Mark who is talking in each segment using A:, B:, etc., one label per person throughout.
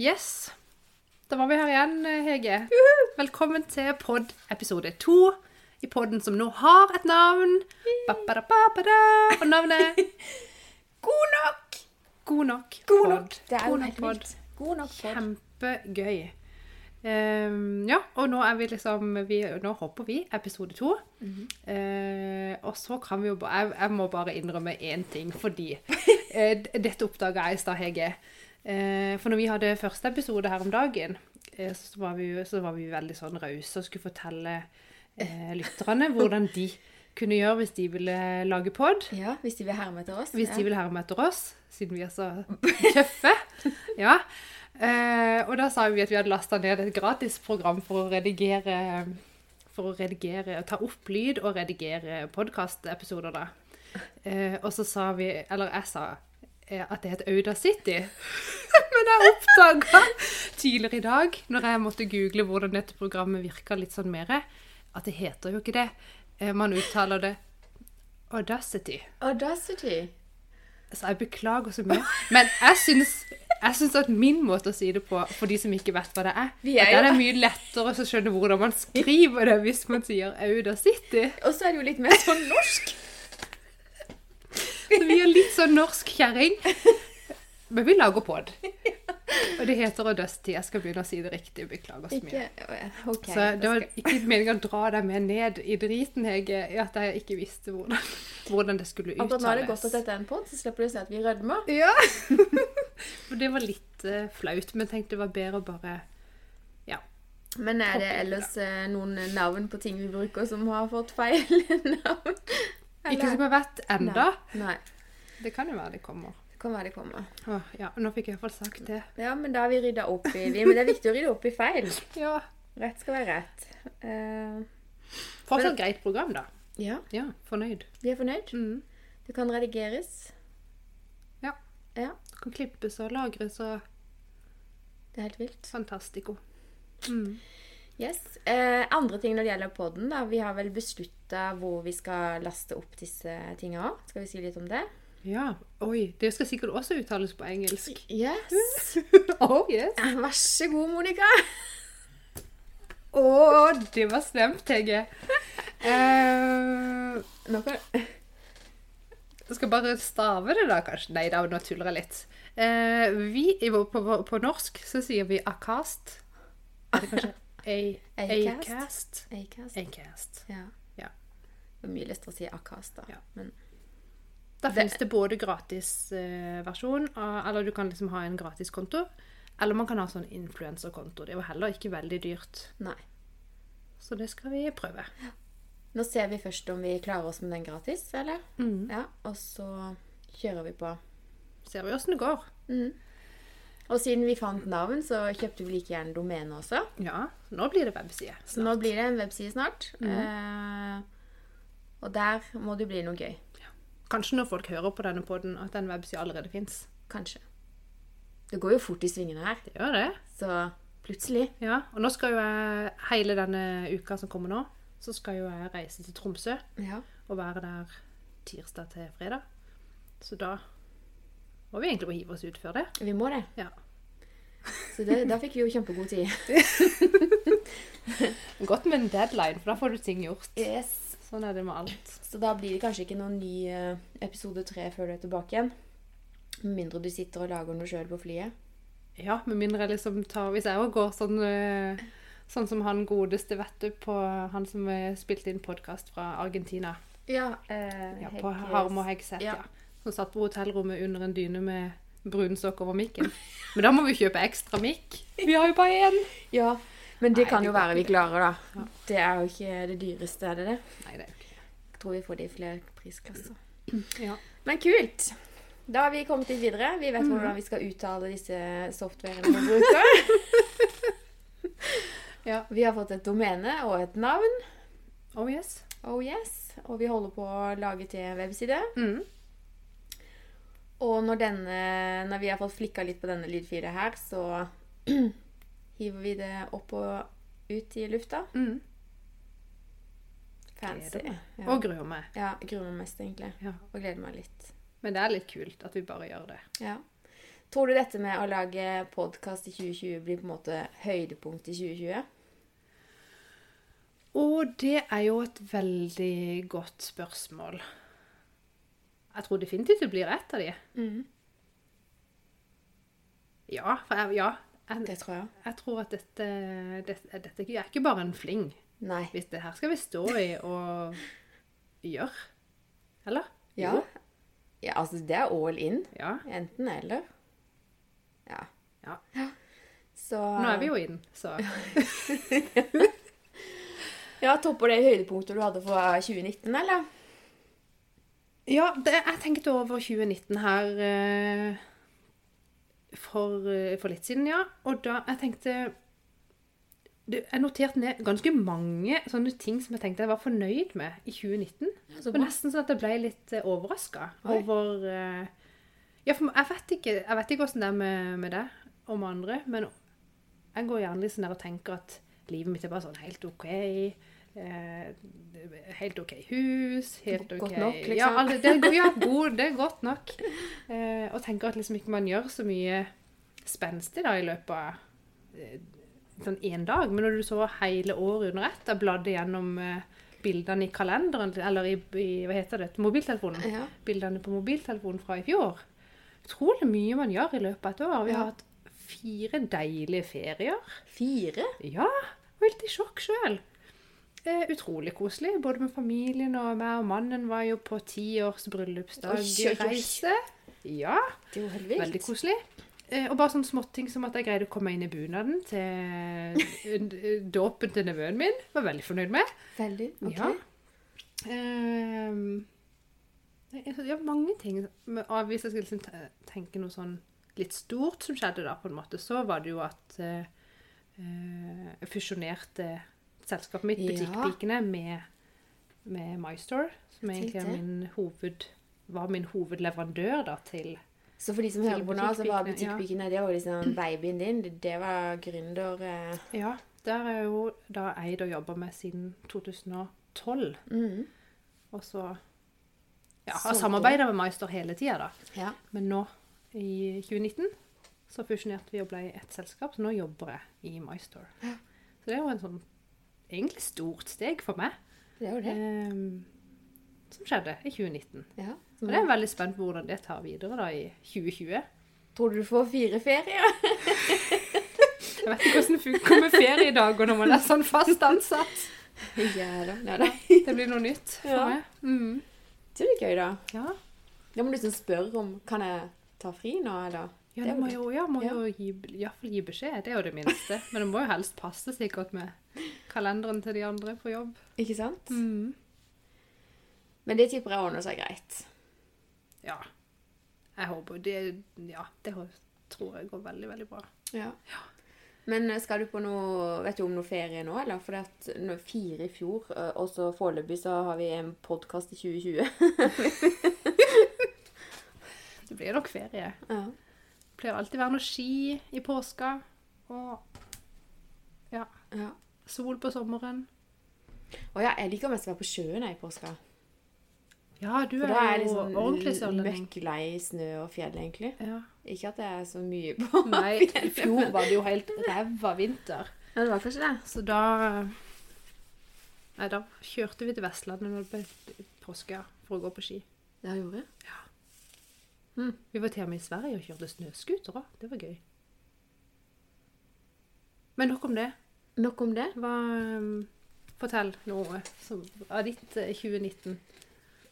A: Yes. Da var vi her igjen, eh, Hege. Velkommen til podd episode to. I podden som nå har et navn. Ba-ba-da-ba-ba-da. Og navnet
B: God nok!
A: God nok.
B: God
A: podd.
B: nok! Det er jo
A: God nok
B: helt
A: podd.
B: vilt. God nok pod.
A: Kjempegøy. Ehm, ja, og nå er vi liksom vi, Nå hopper vi episode to. Eh, og så kan vi jo bare jeg, jeg må bare innrømme én ting, fordi eh, d- Dette oppdaga jeg i stad, Hege. Eh, for når vi hadde første episode her om dagen, eh, så, var vi, jo- så var vi veldig sånn rause og skulle fortelle eh, lytterne hvordan de kunne gjøre hvis de ville lage pod.
B: Ja, hvis de vil herme etter oss.
A: Hvis
B: ja.
A: de vil herme etter oss, siden vi er så tøffe. Ja. Eh, og da sa vi at vi hadde lasta ned et gratisprogram for å redigere For å redigere, ta opp lyd og redigere podkastepisoder, da. Eh, og så sa vi, eller jeg sa, eh, at det het Audacity. Men jeg oppdaga tidligere i dag, når jeg måtte google hvordan dette programmet virka litt sånn mer, at det heter jo ikke det. Eh, man uttaler det Audacity.
B: Audacity.
A: Så Altså, jeg beklager så mye. Men jeg syns, jeg syns at min måte å si det på, for de som ikke vet hva det er
B: Vi er
A: at Det
B: jo-
A: er mye lettere å skjønne hvordan man skriver det hvis man sier Audacity.
B: Og så er det jo litt mer sånn norsk.
A: Så vi er litt sånn norsk kjerring. Men vi lager pod. Og det heter Audacity. Jeg skal begynne å si det riktig. Beklager så mye.
B: Ikke OK.
A: Så det var
B: da skal-
A: ikke meningen å dra deg med ned i driten, Hege, i at jeg ikke visste hvordan, hvordan det skulle uttales.
B: Akkurat nå er det godt at dette er en pod, så slipper du å se at vi rødmer.
A: Ja. For det var litt eh, flaut, men jeg tenkte det var bedre å bare Ja.
B: Men er det
A: Topp,
B: ellers eh, noen navn på ting vi bruker som har fått feil navn?
A: Ikke som jeg vet enda.
B: Nei.
A: Det kan jo være det kommer.
B: Det kan være det kommer.
A: Åh, ja, Nå fikk jeg iallfall sagt det.
B: Ja, men da har vi rydda opp i de. Men det er viktig å rydde opp i feil.
A: Ja.
B: Rett skal være rett. Eh,
A: Fortsatt
B: Men-
A: greit program, da.
B: ja,
A: Ja, fornøyd.
B: vi er fornøyd.
A: Mm.
B: Det kan redigeres.
A: Ja.
B: Ja,
A: Det Kan klippes og lagres og
B: det er helt vilt.
A: fantastico.
B: Yes. Eh, andre ting når det gjelder podden, da. Vi har vel beslutta hvor vi skal laste opp disse tinga òg. Skal vi si litt om det?
A: Ja. Oi. Det skal sikkert også uttales på engelsk.
B: Yes.
A: Oh, yes.
B: Vær så god, Monica.
A: Å, det var slemt, Hege. Eh,
B: Nå kan...
A: Jeg skal bare stave det, da, kanskje. Nei da, nå tuller jeg litt. Eh, vi i vår- på, på, på norsk så sier vi acast. Er det kanskje A-
B: Acast?
A: acast?
B: Acast.
A: Acast.
B: Ja.
A: Ja.
B: Det er mye lettere å si Acast, da.
A: Ja.
B: Men
A: Da finnes det både gratisversjon, eller du kan liksom ha en gratiskonto. Eller man kan ha sånn influenserkonto. Det var heller ikke veldig dyrt.
B: nei.
A: Så det skal vi prøve.
B: Nå ser vi først om vi klarer oss med den gratis, eller? Ja, og så kjører vi på.
A: Ser vi åssen det går.
B: Og siden vi fant navn, så kjøpte vi like gjerne domene også.
A: Ja, nå blir det webside.
B: Så nå blir det en webside snart. Eh, og der må det bli noe gøy.
A: Kanskje når folk hører på denne poden, at den websida allerede fins.
B: Kanskje. Det går jo fort i svingene her,
A: Det gjør det.
B: så plutselig
A: Ja, og nå skal jo jeg, hele denne uka som kommer nå, så skal jo jeg reise til Tromsø
B: Ja.
A: og være der tirsdag til fredag. Så da må vi egentlig bare hive oss ut før det.
B: Vi må det.
A: Ja.
B: Så det, da fikk vi jo kjempegod tid.
A: Godt med en deadline, for da får du ting gjort.
B: Yes.
A: Sånn er det med alt.
B: Så da blir det kanskje ikke noen ny eh, episode tre før du er tilbake igjen. Med mindre du sitter og lager noe sjøl på flyet.
A: Ja, med mindre jeg liksom tar Hvis jeg òg går sånn eh, Sånn som han godeste, vet du, på han som eh, spilte inn podkast fra Argentina.
B: Ja, eh,
A: Ja,
B: Hegg-
A: på Harm og Hegseth,
B: Ja.
A: ja. Som satt på hotellrommet under en dyne med brunsokk over mikken. Men da må vi jo kjøpe ekstra mikk. Vi har jo bare én.
B: Ja, men det
A: Nei,
B: kan
A: det
B: jo
A: går
B: være vi klarer, da. Det er jo ikke det dyreste, er det det?
A: Nei, det er jo ikke
B: Jeg tror vi får det i flere prisklasser.
A: det. Ja.
B: Men kult! Da har vi kommet litt videre. Vi
A: Mhm.
B: vet hvordan vi skal uttale disse softwarene vi bruker.
A: Ja.
B: Vi har fått et domene og et navn.
A: Oh yes.
B: Oh yes. Og vi holder på å lage til en webside.
A: Mm.
B: Og når, denne, når vi har fått flikka litt på denne lydfila her, så hiver vi det opp og ut i lufta.
A: Mm.
B: Fancy.
A: Gleder meg.
B: Ja.
A: Og gruer meg.
B: ja, gruer meg mest, egentlig.
A: Ja.
B: Og gleder meg litt.
A: Men det er litt kult at vi bare gjør det.
B: Ja. Tror du dette med å lage podkast i 2020 blir på en måte høydepunkt i 2020?
A: Og det er jo et veldig godt spørsmål. Jeg tror definitivt det blir et av de. Ja, for jeg, ja, jeg,
B: Det tror jeg.
A: jeg tror at dette, dette, dette er ikke bare en fling.
B: Nei.
A: Hvis det her skal vi stå i og gjøre. Eller?
B: Ja.
A: Jo.
B: ja. Altså, det er all in.
A: Ja.
B: Enten eller. Ja.
A: Ja.
B: Så
A: Nå er vi jo i den, så
B: Ja, Topper det høydepunktet du hadde fra 2019, eller?
A: Ja, det, jeg tenkte over 2019 her eh, for, eh, for litt siden, ja. Og da jeg tenkte det, Jeg noterte ned ganske mange sånne ting som jeg tenkte jeg var fornøyd med i 2019.
B: så
A: og nesten sånn at jeg ble litt uh, overraska
B: Oi.
A: over eh, Ja, for jeg vet ikke, jeg vet ikke åssen det er med, med det og med andre, men jeg går gjerne litt sånn der og tenker at livet mitt er bare sånn helt OK. eh, helt OK hus, helt OK
B: Godt nok, liksom.
A: Ja, alle- det, er go- ja god, det er godt nok. Eh, og tenker at liksom ikke man gjør så mye spenstig da i løpet av eh, sånn én dag. Men når du så hele året under ett, da bladde gjennom eh, bildene i kalenderen, eller i, i hva heter det, mobiltelefonen
B: Ja.
A: bildene på mobiltelefonen fra i fjor. Utrolig mye man gjør i løpet av et år. Vi
B: Ja.
A: har hatt fire deilige ferier.
B: Fire?
A: Ja, jeg var helt i sjokk sjøl. Eh, utrolig koselig, både med familien og meg og mannen var jo på tiårs
B: Oi, oi, oi.
A: bryllupsdagreise. Ja,
B: Det er jo helt vilt.
A: veldig koselig. Eh, og bare sånne småting som at jeg greide å komme inn i bunaden til eh, dåpen til nevøen min. Var veldig fornøyd med.
B: Veldig, ok.
A: Ja. Ehm, det er- ja, mange ting. Men av- hvis jeg skal liksom te- tenke noe sånn litt stort som skjedde da, på en måte, så var det jo at eh, eh, jeg fusjonerte selskapet mitt,
B: Ja.
A: Butikkpikene, med, med MyStore, som egentlig er
B: Tenkte.
A: min hoved, var min hovedleverandør da til
B: Så for de som
A: Til
B: hører på nå, så var
A: butikkpikene, ja.
B: butikkpikene det var liksom babyen din. Det- Det var gründer... eh,
A: Ja, der er jo da eid og jobba med siden 2012.
B: Mm.
A: Og så ja, har
B: Solgte.
A: samarbeida med MyStore hele tida, da.
B: Ja.
A: Men nå, i 2019, så fusjonerte vi og ble ett selskap, så nå jobber jeg i MyStore.
B: Ja.
A: Så det er jo en sånn egentlig stort steg for meg,
B: Det er jo det.
A: ehm, som skjedde i 2019.
B: Ja.
A: Og det er jeg veldig spent på hvordan det tar videre da i 2020.
B: Tror du du får fire ferier?
A: Jeg vet ikke hvordan det funker med feriedager når man er sånn fast ansatt.
B: ja da. Nei da.
A: Det blir noe nytt for
B: Ja.
A: meg. Mm.
B: Det er jo gøy, da.
A: Ja.
B: Da må du liksom spørre om Kan jeg ta fri nå, eller?
A: Ja,
B: Det
A: det
B: er
A: må
B: jo
A: jo, ja, må
B: Ja.
A: jo gi, i hvert fall gi beskjed, det er jo det minste. Men det må jo helst passe sikkert med kalenderen til de andre på jobb.
B: Ikke sant?
A: Mm.
B: Men det tipper jeg ordner seg greit.
A: Ja. Jeg håper det Ja, det hå- tror jeg går veldig, veldig bra.
B: Ja. Men eh, skal du på noe Vet du om noe ferie nå, eller? For det at nå- fire i fjor, eh, og så foreløpig så har vi en podkast i 2020.
A: Det blir nok ferie.
B: Ja.
A: Det pleier alltid å være noe ski i påska. Og ja,
B: ja.
A: sol på sommeren.
B: Å ja, jeg liker mest å være på sjøen jeg, i påska.
A: Ja, du
B: For
A: er,
B: da er jeg
A: jo
B: liksom
A: ordentlig
B: l-
A: sørlending.
B: møkklei snø og fjell, egentlig.
A: Ja.
B: Ikke at jeg er så mye på
A: Nei, i fjor var det jo helt ræva vinter.
B: Ja, det var kanskje det.
A: Så da Nei, da kjørte vi til Vestlandet når det ble påske for å gå på ski.
B: Ja, jeg gjorde
A: Vi var til og med i Sverige og kjørte snøskuter òg. Det var gøy. Men nok om det.
B: Nok om det.
A: Hva, ehm, fortell noe som, av ditt eh, 2019.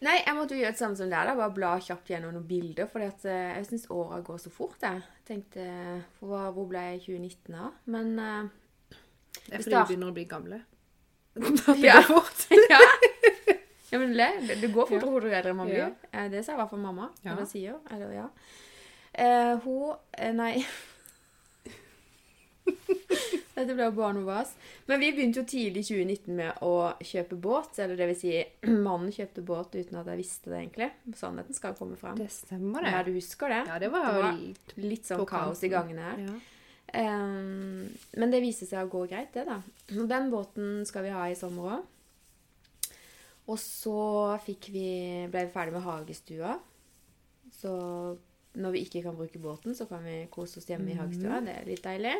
B: Nei, jeg måtte jo gjøre det samme som deg. da, Bare bla kjapt gjennom noen bilder. For jeg syns åra går så fort. jeg. Tenkte eh, for hva, Hvor ble jeg i 2019 av? Men eh,
A: Det er fordi
B: Vi
A: vi
B: start-
A: begynner å bli gamle. At det
B: Ja.
A: går fort.
B: ja. ja, men le. Det, det går fortere og fortere jo eldre man blir.
A: Ja.
B: Eh, Det sa i hvert fall mamma.
A: Ja.
B: Eller sier. Eller ja. Eh, hun eh, Nei. Dette ble jo bare noe vas. Men vi begynte jo tidlig i 2019 med å kjøpe båt. Eller det vil si, mannen kjøpte båt uten at jeg visste det, egentlig. Sannheten skal jo komme fram.
A: Det stemmer,
B: Ja,
A: det.
B: du husker det?
A: Ja, det var,
B: Det var-
A: litt
B: Litt sånn
A: på
B: kaos i
A: kanten.
B: gangene her.
A: ja.
B: Ehm, men det viser seg å gå greit, det, da. Og Den båten skal vi ha i sommer òg. Og så fikk vi, ble vi ferdig med hagestua. Så når vi ikke kan bruke båten, så kan vi kose oss hjemme i hagestua. Det er litt deilig.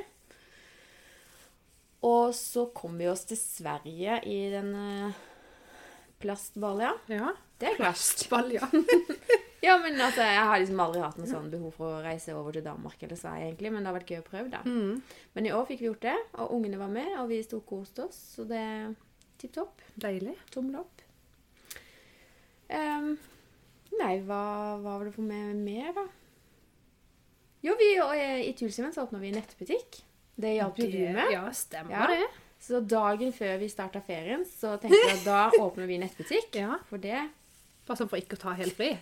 B: Og så kom vi oss til Sverige i den eh, plastbalja.
A: Ja.
B: Det er klart.
A: Plastball, ja.
B: Ja, men altså, Jeg har liksom aldri hatt noe sånn behov for å reise over til Danmark eller Sverige, egentlig, men det har vært gøy å prøve, da.
A: Mm.
B: Men i år fikk vi gjort det, og ungene var med, og vi storkoste oss, så det er tipp topp.
A: Deilig.
B: Tommel opp. Ehm, nei, hva, hva var det for meg mer, da? Jo, vi, og, eh, i Tulsheimen så åpna vi nettbutikk. Det hjalp jo du med.
A: Ja, stemmer
B: Ja.
A: det.
B: Så dagen før vi starta ferien, så tenkte jeg at da åpner vi nettbutikk.
A: Ja.
B: For det
A: Bare sånn for ikke å ta helt fri.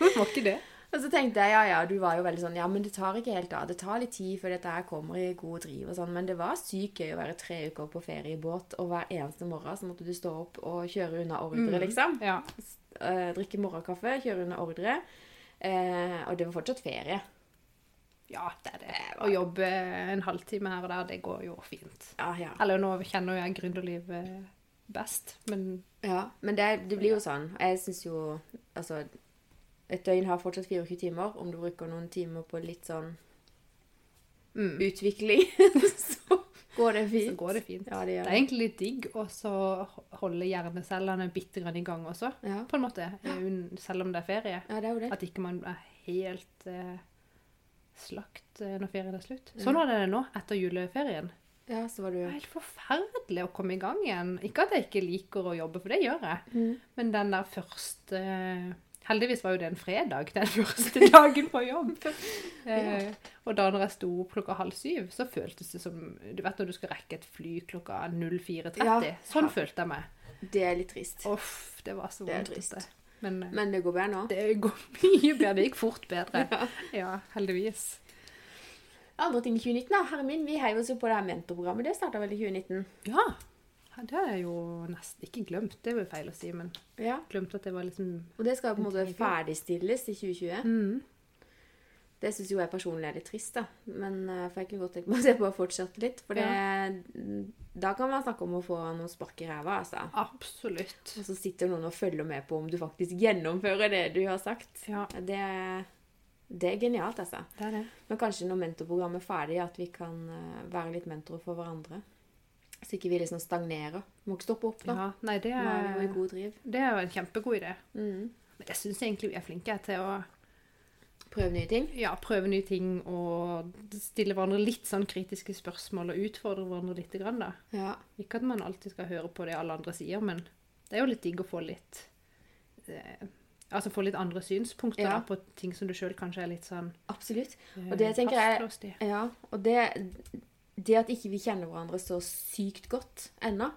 A: Må ikke det.
B: Og så tenkte jeg, ja ja, du var jo veldig sånn Ja, men det tar ikke helt av. Det tar litt tid før dette her kommer i god driv og sånn. Men det var sykt gøy å være tre uker på ferie i båt, og hver eneste morgen så måtte du stå opp og kjøre unna
A: Mm.
B: ordre, liksom.
A: Ja.
B: Eh, drikke morgenkaffe, kjøre unna ordre. Eh, og det var fortsatt ferie.
A: ja, det er det. Eh, Å jobbe en halvtime her og der, det går jo fint.
B: Ja, ja.
A: Eller nå kjenner jo jeg gründerlivet best, men
B: ja men det, det blir jo sånn. Jeg syns jo Altså, et døgn har fortsatt 24 timer. Om du bruker noen timer på litt sånn
A: mm,
B: utvikling, så går det
A: så
B: fint.
A: går det fint.
B: Ja, det
A: Det
B: gjør
A: er
B: det.
A: egentlig litt digg å så holde hjernecellene bitte grann i gang også,
B: Ja,
A: på en måte. Un- Selv om det er ferie.
B: ja det er jo det.
A: At ikke man er helt eh, slakt eh, når ferien er slutt. Sånn var det nå etter juleferien.
B: Mm. Ja, så var du
A: Det er helt forferdelig å komme i gang igjen. Ikke at jeg ikke liker å jobbe, for det gjør jeg.
B: Mhm.
A: Men den der første Heldigvis var jo det en fredag, den første dagen på jobb. eh, og da når jeg sto opp klokka halv syv, så føltes det som Du vet når du skal rekke et fly klokka 04.30?
B: Ja.
A: Sånn følte jeg meg.
B: Det er litt trist.
A: Uff, det var så
B: Det er
A: vondt.
B: trist.
A: dette. Men, eh,
B: Men det går bedre nå.
A: det går mye bedre. Det gikk fort bedre. Ja, heldigvis.
B: Andre ting i 2019, da. Herre min, vi heiv oss jo på det her mentorprogrammet. Det starta vel i 2019?
A: Ja. Det har jeg jo nesten ikke glemt. Det var jo feil å si, men
B: Ja.
A: glemt at det var liksom
B: Og det skal jo på en måte ferdigstilles i 2020. Det syns jo jeg personlig er litt trist, da. Men eh, for jeg kunne godt tenke meg at jeg bare fortsatte litt. For det, da kan man snakke om å få noen spark i ræva, altså.
A: Absolutt.
B: Og så sitter noen og følger med på om du faktisk gjennomfører det du har sagt.
A: Ja,
B: Det, det er genialt, altså.
A: det er det.
B: Men kanskje når mentorprogrammet er ferdig, at vi kan eh, være litt mentorer for hverandre. Så ikke vi liksom stagnerer. Må ikke stoppe opp, da.
A: Ja, nei, det
B: Nå er vi jo i
A: er,
B: god driv.
A: det er jo en kjempegod idé.
B: Mm.
A: Men jeg syns egentlig vi er flinke til å
B: Prøve nye ting.
A: ja, prøve nye ting og stille hverandre litt sånn kritiske spørsmål og utfordre hverandre litt. Grann, da.
B: Ja.
A: Ikke at man alltid skal høre på det alle andre sier, men det er jo litt digg å få litt eh, Altså få litt andre synspunkter
B: Ja.
A: da, på ting som du sjøl kanskje er litt sånn
B: Absolutt.
A: eh,
B: Og det tenker jeg-
A: fastlåst i.
B: Ja, og det, det at ikke vi kjenner hverandre så sykt godt ennå,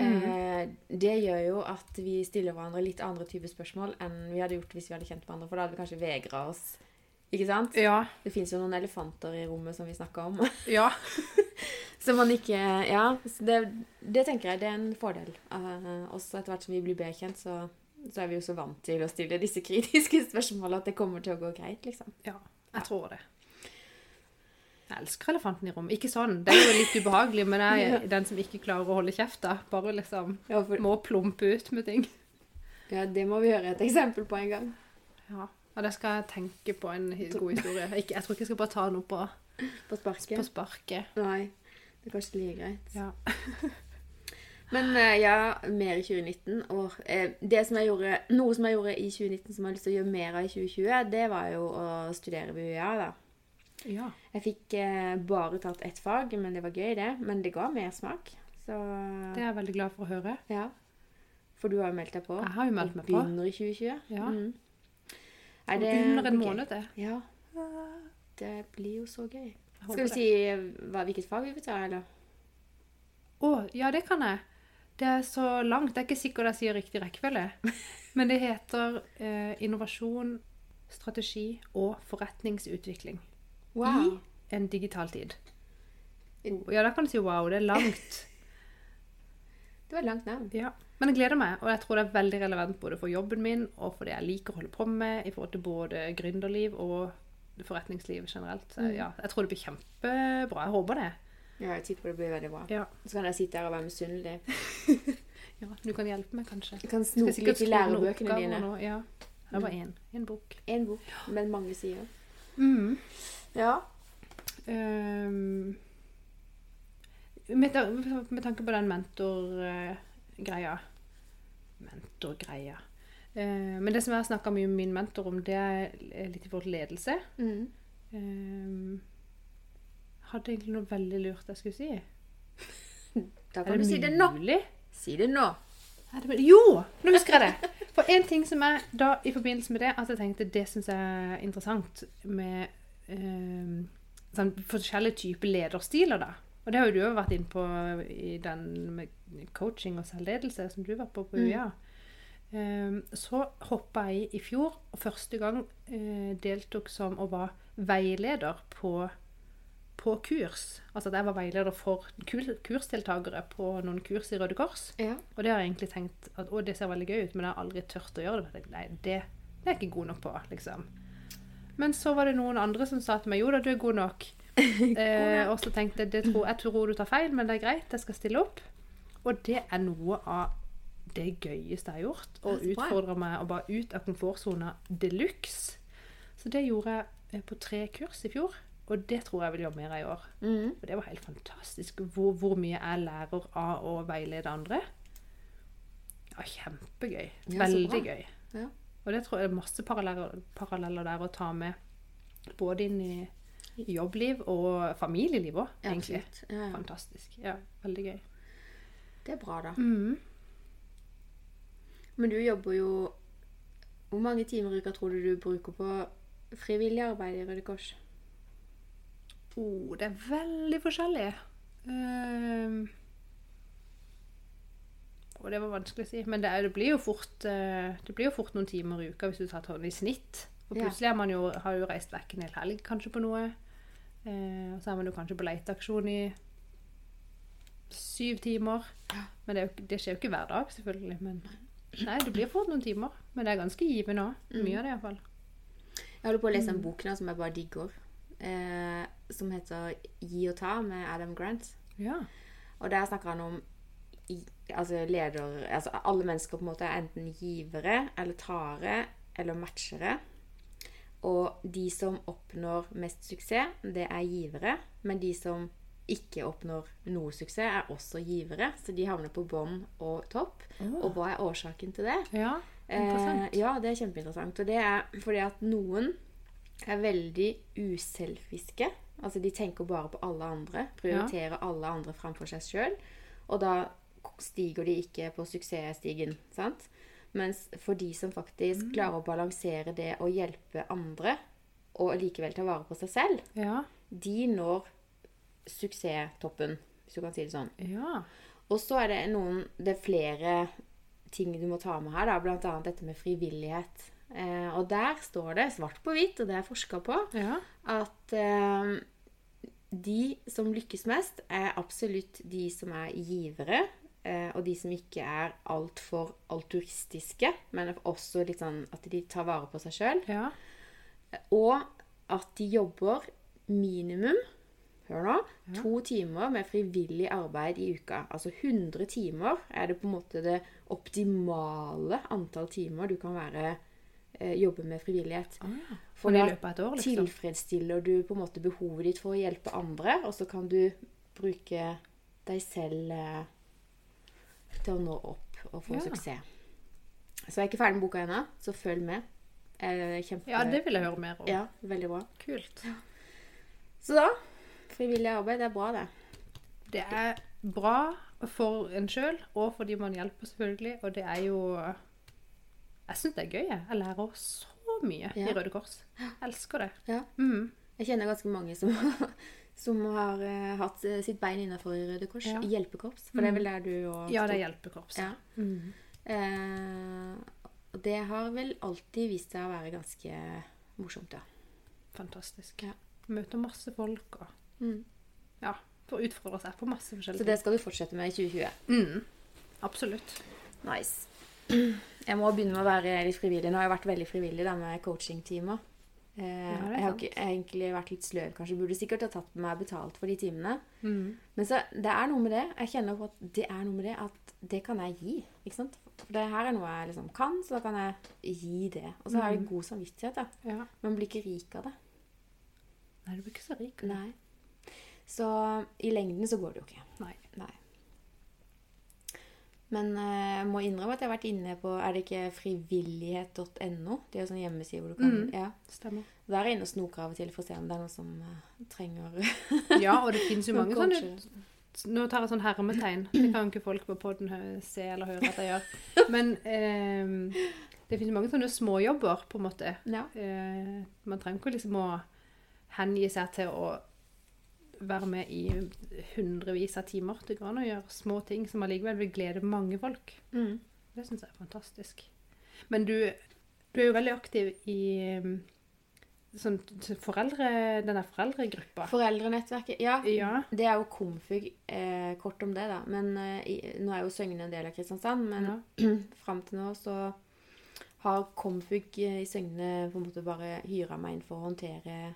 A: Mm.
B: eh, det gjør jo at vi stiller hverandre litt andre typer spørsmål enn vi hadde gjort hvis vi hadde kjent hverandre, for da hadde vi kanskje vegra oss. Ikke sant?
A: Ja.
B: Det fins jo noen elefanter i rommet som vi snakka om.
A: ja.
B: Så man ikke Ja, så det, det tenker jeg det er en fordel. Eh, også etter hvert som vi blir bedre kjent, så, så er vi jo så vant til å stille disse kritiske spørsmålene at det kommer til å gå greit, liksom.
A: Ja, jeg tror det. Jeg elsker elefanten i rommet. Ikke sånn, det er jo litt ubehagelig, men jeg er den som ikke klarer å holde kjeft, da. Bare liksom
B: Ja, for,
A: må plumpe ut med ting.
B: ja, det må vi høre et eksempel på en gang.
A: Ja, og det skal jeg tenke på en hi- god historie. Ikke, jeg tror ikke jeg skal bare ta noe på,
B: På sparket.
A: på sparket.
B: Nei. Det er kanskje like greit.
A: Ja.
B: Men eh, ja, mer i 2019. Og eh, det som jeg gjorde, noe som jeg gjorde i 2019 som jeg har lyst til å gjøre mer av i 2020, det var jo å studere ved UiA, da.
A: ja.
B: Jeg fikk eh, bare tatt ett fag, men det var gøy, det. Men det ga mer smak. Så
A: Det er jeg veldig glad for å høre.
B: Ja. For du har jo meldt deg på.
A: Jeg har jo meldt meg
B: Og
A: på.
B: Begynner i 2020.
A: Ja.
B: Mm. Er
A: Om
B: det
A: under en
B: blir gøy?
A: måned, det.
B: Ja. Det blir jo så gøy.
A: Jeg håper det.
B: Skal vi si hva, hvilket fag vi vil ta, eller?
A: Å, ja, det kan jeg. Det er så langt. Jeg er ikke sikker jeg sier riktig rekkefølge. Men det heter eh, innovasjon, strategi og forretningsutvikling i en digital tid. Oh, ja, da kan du si wow. Det er langt.
B: Det var et langt navn.
A: Ja. Men jeg gleder meg, og jeg tror det er veldig relevant både for jobben min og for det jeg liker å holde på med i forhold til både gründerliv og forretningsliv generelt. Så, ja, jeg tror det blir kjempebra. Jeg håper det.
B: Ja, jeg tipper det blir veldig bra.
A: Ja.
B: Så kan jeg sitte her og være misunnelig.
A: ja du kan hjelpe meg, kanskje.
B: Du kan
A: Skal
B: snoke
A: sikkert
B: litt i
A: skrive noen
B: lærebøkene
A: oppgaver
B: dine.
A: nå, Ja. Det var én. En bok.
B: Én bok, men mange sider.
A: Mm.
B: Ja.
A: Ehm, med, ta- med tanke på den mentorgreia Mentorgreia Eh, Men det som jeg har snakka mye med min mentor om, det er litt i forhold til ledelse.
B: Mm.
A: Ehm, hadde egentlig noe veldig lurt jeg skulle si.
B: Da kan du si det nå.
A: mulig?
B: Si det nå.
A: Er det mulig? Jo! Nå husker jeg det. For en ting som jeg da i forbindelse med det, at jeg tenkte det syns jeg er interessant med ehm, sånn forskjellige typer lederstiler, da. Og det har jo du òg vært inne på i den med coaching og selvledelse som du var på på UiA. Ehm, så hoppa jeg i i fjor, og første gang eh, deltok som og var veileder på på kurs. Altså at jeg var veileder for kul- kursdeltakere på noen kurs i Røde Kors.
B: Ja.
A: Og det har jeg egentlig tenkt at å, det ser veldig gøy ut, men jeg har aldri tørt å gjøre det. for jeg tenkte, Nei, det, det er jeg ikke god nok på, liksom. Men så var det noen andre som sa til meg jo da, du er god nok. Eh, og så tenkte jeg det tror, jeg tror du tar feil, men det er greit, jeg skal stille opp. Og det er noe av det gøyeste jeg har gjort. Å
B: Ja, så bra.
A: utfordre meg og bare ut av komfortsona de luxe. Så det gjorde jeg eh, på tre kurs i fjor, og det tror jeg vil gjøre mer av i år.
B: Mm.
A: Og det var helt fantastisk hvor, hvor mye jeg lærer av å veilede andre. Ja, kjempegøy.
B: Ja, så
A: Veldig
B: bra.
A: gøy.
B: Ja.
A: Og det tror jeg er masse paralleller, paralleller der å ta med både inn i jobbliv og familieliv òg,
B: Ja,
A: egentlig.
B: Absolutt. Ja, ja.
A: Fantastisk. Ja, veldig gøy.
B: Det er bra, da.
A: Mm.
B: Men du jobber jo Hvor mange timer i uka tror du du bruker på frivillig arbeid i Røde Kors?
A: Oh, det er veldig forskjellig. Ehm. og det var vanskelig å si. Men det, er, det, blir jo fort, eh, det blir jo fort noen timer i uka hvis du tar tolv i snitt. Og
B: Ja.
A: plutselig er man jo, har jo reist vekk en hel helg kanskje på noe. Eh, og så er man jo kanskje på leteaksjon i syv timer. Men det, er jo, ikke- det skjer jo ikke hver dag, selvfølgelig. Men nei, det blir fort noen timer. Men det er ganske givende òg.
B: Mm.
A: Mye av det iallfall.
B: Jeg holder på å lese en bok nå som jeg bare digger. Eh, som heter 'Gi og ta' med Adam Grant.
A: Ja.
B: Og der snakker han om i- altså leder, altså alle mennesker på en måte er enten givere eller tare eller matchere. Og de som oppnår mest suksess, det er givere. Men de som ikke oppnår noe suksess, er også givere. Så de havner på bånn og topp. Og hva er årsaken til det?
A: ja.
B: Eh,
A: Interessant.
B: ja, det er kjempeinteressant. Og det er fordi at noen er veldig uselfiske. Altså de tenker bare på alle andre. Prioriterer alle andre framfor seg sjøl. Og da stiger de ikke på suksessstigen. sant? Mens for de som faktisk klarer å balansere det å hjelpe andre, og likevel ta vare på seg selv,
A: Ja.
B: de når suksesstoppen, hvis du kan si det sånn.
A: ja.
B: Og så er det noen Det er flere ting du må ta med her, da. Blant annet dette med frivillighet. Eh, og der står det svart på hvitt, og det er forska på,
A: ja.
B: at eh, de som lykkes mest, er absolutt de som er givere. Eh, og de som ikke er altfor altruistiske, men også litt sånn at de tar vare på seg sjøl.
A: ja.
B: Og at de jobber minimum hør nå, to timer med frivillig arbeid i uka. Altså 100 timer er det på en måte det optimale antall timer du kan være, eh, jobbe med frivillighet. For
A: Men i
B: da
A: løpet av et år, liksom?
B: tilfredsstiller du på en måte behovet ditt for å hjelpe andre, og så kan du bruke deg selv eh, til å nå opp og få
A: Ja.
B: suksess. Så jeg er ikke ferdig med boka ennå, så følg med. Eh, Kjempe...
A: Ja, det vil jeg høre mer om.
B: Ja, veldig bra.
A: Kult.
B: Så da Frivillig arbeid er bra, det.
A: Det er bra for en sjøl, og for de man hjelper, selvfølgelig. Og det er jo Jeg syns det er gøy. Jeg Jeg lærer så mye
B: Ja.
A: i Røde Kors. Jeg elsker det.
B: Ja.
A: Mm.
B: Jeg kjenner ganske mange som, som har eh, hatt eh, sitt bein innafor Røde Kors.
A: Ja. Mm.
B: Hjelpekorps. For det er vel der du og
A: Ja, det er hjelpekorps.
B: Ja.
A: Mm.
B: Eh, og det har vel alltid vist seg å være ganske morsomt, ja.
A: Fantastisk.
B: Ja.
A: Møter masse folk og
B: Mm.
A: Ja. Får utfordre seg på masse
B: Så
A: forskjellige
B: det skal du fortsette med i 2020.
A: Mm. Absolutt.
B: Nice. Jeg må begynne med å være litt frivillig. Nå har jeg vært veldig frivillig da med coachingtimer. Eh,
A: Ja, det er
B: jeg har
A: sant.
B: ikke, jeg har egentlig vært litt sløv, kanskje. Burde sikkert ha tatt med meg betalt for de timene.
A: Mm.
B: Men så, det er noe med det. Jeg kjenner på at det er noe med det at det kan jeg gi. ikke sant? For det her er noe jeg liksom kan, så da kan jeg gi det. Og så er
A: Mm.
B: det god samvittighet, da.
A: Ja.
B: Men blir ikke rik av det.
A: Nei, du blir ikke så rik.
B: Nei. Så i lengden så går det jo ikke.
A: Nei.
B: Nei. Men eh, jeg må innrømme at jeg har vært inne på Er det ikke frivillighet.no? Det er jo sånn hjemmeside hvor du kan
A: Mm.
B: Ja.
A: Stemmer.
B: Der er jeg inne og snoker av og til for å se om det er noen som eh, trenger
A: Ja, og det finnes jo mange
B: noen
A: sånne
B: coacher.
A: Nå tar jeg sånn hermetegn. Det kan ikke folk på podden hø- se eller høre at jeg gjør. Men ehm, det finnes mange sånne småjobber, på en måte.
B: Ja.
A: Eh, man trenger ikke liksom å hengi seg til å være med i hundrevis av timer. Det går an å gjøre små ting som allikevel vil glede mange folk.
B: Mm.
A: Det syns jeg er fantastisk. Men du, du er jo veldig aktiv i mm, sånn t- foreldre, denne foreldregruppa.
B: Foreldrenettverket. Ja.
A: Ja.
B: Det er jo Komfug. Eh, kort om det, da. Men eh, i, nå er jo Søgne en del av Kristiansand. Men
A: ja.
B: fram til nå så har Komfug eh, i Søgne på en måte bare hyra meg inn for å håndtere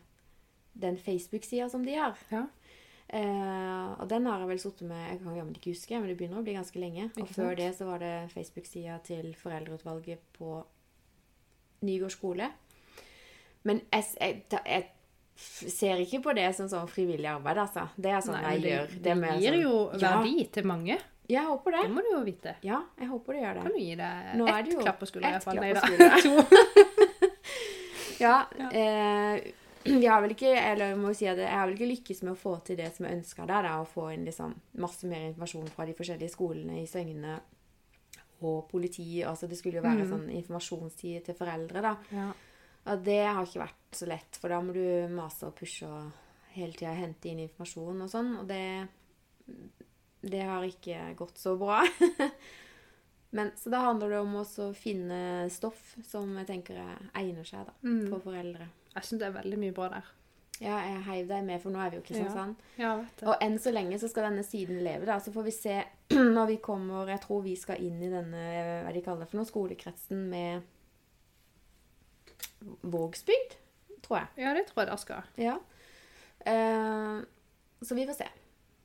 B: den Facebook-sida som de har.
A: Ja.
B: Eh, og den har jeg vel sittet med Jeg kan jammen ikke huske, men det begynner å bli ganske lenge. Og
A: Ikke sant?
B: før det så var det Facebook-sida til foreldreutvalget på Nygård skole. Men jeg, s- jeg, da- jeg f- ser ikke på det som sånn frivillig arbeid, altså. Det er sånn
A: Nei, men
B: jeg
A: det,
B: gjør.
A: det
B: er mer
A: gir
B: sånn-
A: jo
B: Ja.
A: verdi til mange.
B: Ja, jeg håper det.
A: Det må du jo vite.
B: Ja, jeg håper det gjør det.
A: Kan du gi deg
B: Nå er
A: ett
B: det jo
A: klapp på skuldra?
B: ett
A: i hvert fall?
B: klapp på
A: Nei da. To.
B: Ja,
A: Ja.
B: Eh, vi har vel ikke, eller jeg må jo si at jeg har vel ikke lykkes med å få til det som jeg ønska der, da, å få inn liksom masse mer informasjon fra de forskjellige skolene i Søgne og politi. Altså det skulle jo
A: Mm.
B: være sånn informasjonstid til foreldre, da.
A: Ja.
B: Og det har ikke vært så lett, for da må du mase og pushe og hele tida hente inn informasjon og sånn, og det Det har ikke gått så bra. Men, så da handler det om også å finne stoff som jeg tenker eh, egner seg da,
A: Mm.
B: for foreldre.
A: Jeg syns det er veldig mye bra der.
B: Ja, jeg heiv deg med, for nå er vi jo i Kristiansand.
A: Ja, vet du.
B: Og enn så lenge så skal denne siden leve, da. Så får vi se når vi kommer Jeg tror vi skal inn i denne hva de kaller det for noe, skolekretsen med Vågsbygd, tror jeg.
A: Ja, det tror jeg det skal.
B: Ja. Eh, så vi får se.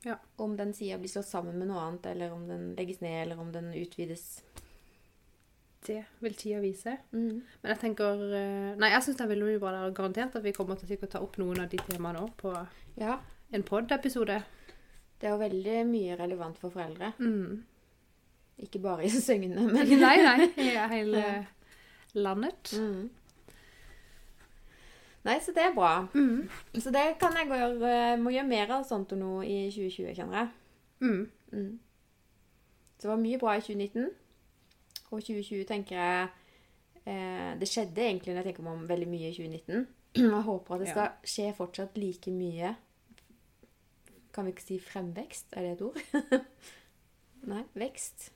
A: Ja.
B: Om den sida blir slått sammen med noe annet, eller om den legges ned, eller om den utvides.
A: Det vil tida vise.
B: Mm.
A: Men jeg tenker eh, Nei, jeg syns det er veldig mye bra der. og Garantert at vi kommer til å sikkert ta opp noen av de temaene òg på
B: Ja.
A: en pod-episode.
B: Det er jo veldig mye relevant for foreldre.
A: Mm.
B: Ikke bare i Søgne, men
A: Nei, nei. I hele landet.
B: Mm. Nei, så det er bra.
A: Mm.
B: Så det kan jeg gjøre, eh, må gjøre mer av sånt og noe i 2020, kjenner jeg.
A: Mm.
B: Mm. Så det var mye bra i 2019. Og 2020 tenker jeg eh, Det skjedde egentlig når jeg tenker meg om veldig mye i 2019. Jeg håper at det skal skje fortsatt like mye Kan vi ikke si fremvekst? Er det et ord? Nei. Vekst.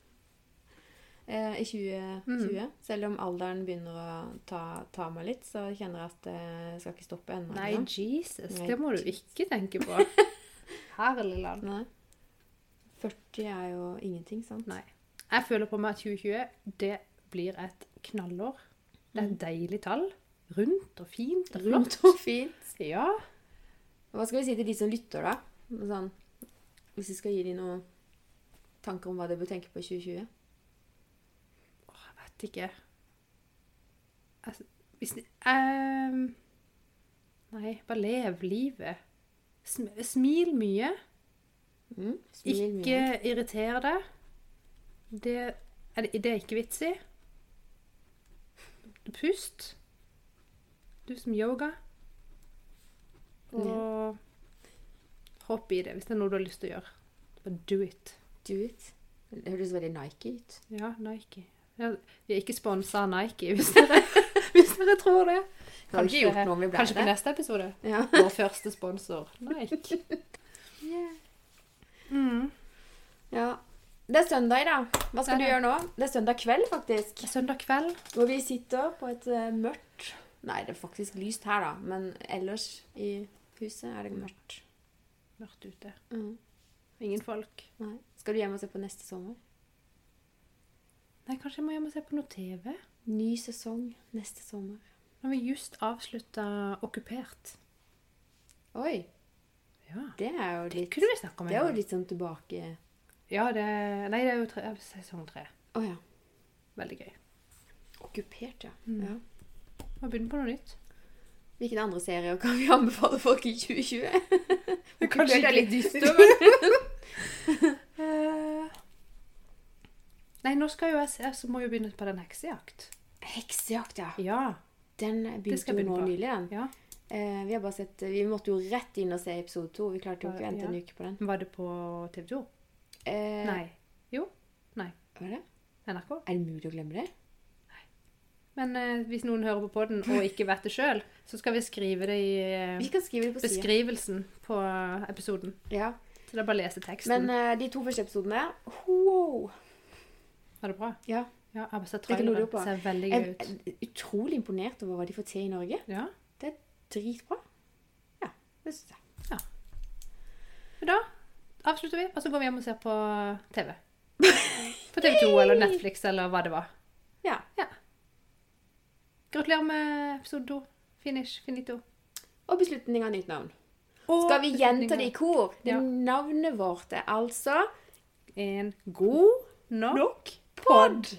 B: Eh, I
A: Mm.
B: 2020. Selv om alderen begynner å ta, ta meg litt, så kjenner jeg at eh, jeg skal ikke stoppe ennå.
A: Nei,
B: liksom.
A: Jesus.
B: Nei,
A: Det må du ikke tenke på. Herlig land.
B: Nei. 40 er jo ingenting, sant?
A: Nei. Jeg føler på meg at 2020 det blir et knallår. Det er et deilig tall. Rundt og fint og flott.
B: Rundt og fint.
A: Ja.
B: Hva skal vi si til de som lytter, da? Sånn, hvis vi skal gi dem noen tanker om hva de bør tenke på i 2020?
A: Åh, Jeg vet ikke. Altså, hvis ehm, Nei, bare lev livet. Sm smil mye.
B: Mm, smil
A: Ikke
B: mye.
A: irriter deg. Det er, det- det er ikke vits i. Pust. Du som yoga. Og hopp i det hvis det er noe du har lyst til å gjøre. Bare do it.
B: Do it. Det høres veldig Nike ut.
A: Ja, Nike. Ja, vi er ikke sponsa av Nike, hvis dere, hvis dere tror det.
B: Det hadde ikke gjort noe om vi ble
A: kanskje på
B: det.
A: neste episode.
B: Ja.
A: Vår første sponsor, Nike. Mm.
B: ja. Det er søndag, da. Hva
A: Det
B: skal du
A: er
B: gjøre nå? Det er søndag kveld, faktisk.
A: Søndag kveld.
B: Hvor vi sitter på et eh, mørkt Nei, det er faktisk lyst her, da. Men ellers i huset er det mørkt.
A: Mørkt ute.
B: Mm.
A: Ingen folk.
B: Nei. Skal du hjem og se på neste sommer?
A: Nei, kanskje jeg må hjem og se på noe TV?
B: Ny sesong neste sommer.
A: Nå har vi just avslutta 'Okkupert'.
B: Oi.
A: Ja.
B: Det er jo litt
A: Kunne vi snakke om
B: Det er jo
A: gang?
B: litt sånn tilbake
A: Ja, det Nei, det er jo tre, ja, sesong tre.
B: Å ja.
A: Veldig gøy.
B: Okkupert, ja.
A: Mm.
B: ja.
A: Må begynne på noe nytt.
B: Hvilken andre serier kan vi anbefale folk i 2020?
A: Kanskje
B: Okkupert er litt dyster,
A: Eh, Nei, nå skal jo jeg se, så må jeg jo begynne på den heksejakt.
B: Heksejakt, ja.
A: Ja.
B: Den begynte
A: skal
B: jo
A: jeg
B: nå
A: begynne på.
B: nylig, den.
A: ja.
B: Eh, vi har bare sett Vi måtte jo rett inn og se episode to. Vi klarte jo ikke å vente en
A: Ja.
B: uke på den.
A: Var det på TV 2?
B: Eh,
A: Nei. Jo.
B: Var det?
A: NRK.
B: Er det mulig å glemme det?
A: Men eh, hvis noen hører på podden og ikke vet det sjøl, så skal vi skrive det i eh,
B: Vi kan skrive det på sida.
A: beskrivelsen på eh, episoden.
B: Ja.
A: Så det er bare å lese teksten.
B: Men eh, de to første episodene Wow!
A: var det bra?
B: Ja.
A: Ja, jeg har bare sett
B: Det er ikke
A: traileren.
B: noe å lure på.
A: Ser veldig gøy
B: Jeg
A: ut.
B: er utrolig imponert over hva de får til i Norge.
A: Ja.
B: Dritbra. Ja, det syns jeg.
A: Men da avslutter vi, og så går vi hjem og ser på TV. På TV 2 eller Netflix eller hva det var.
B: Ja.
A: Gratulerer med episode 2. Finish. Finito.
B: Og beslutning av nytt navn. Skal vi gjenta det i kor? Det
A: Ja.
B: Navnet vårt er altså
A: En god nok
B: Pod.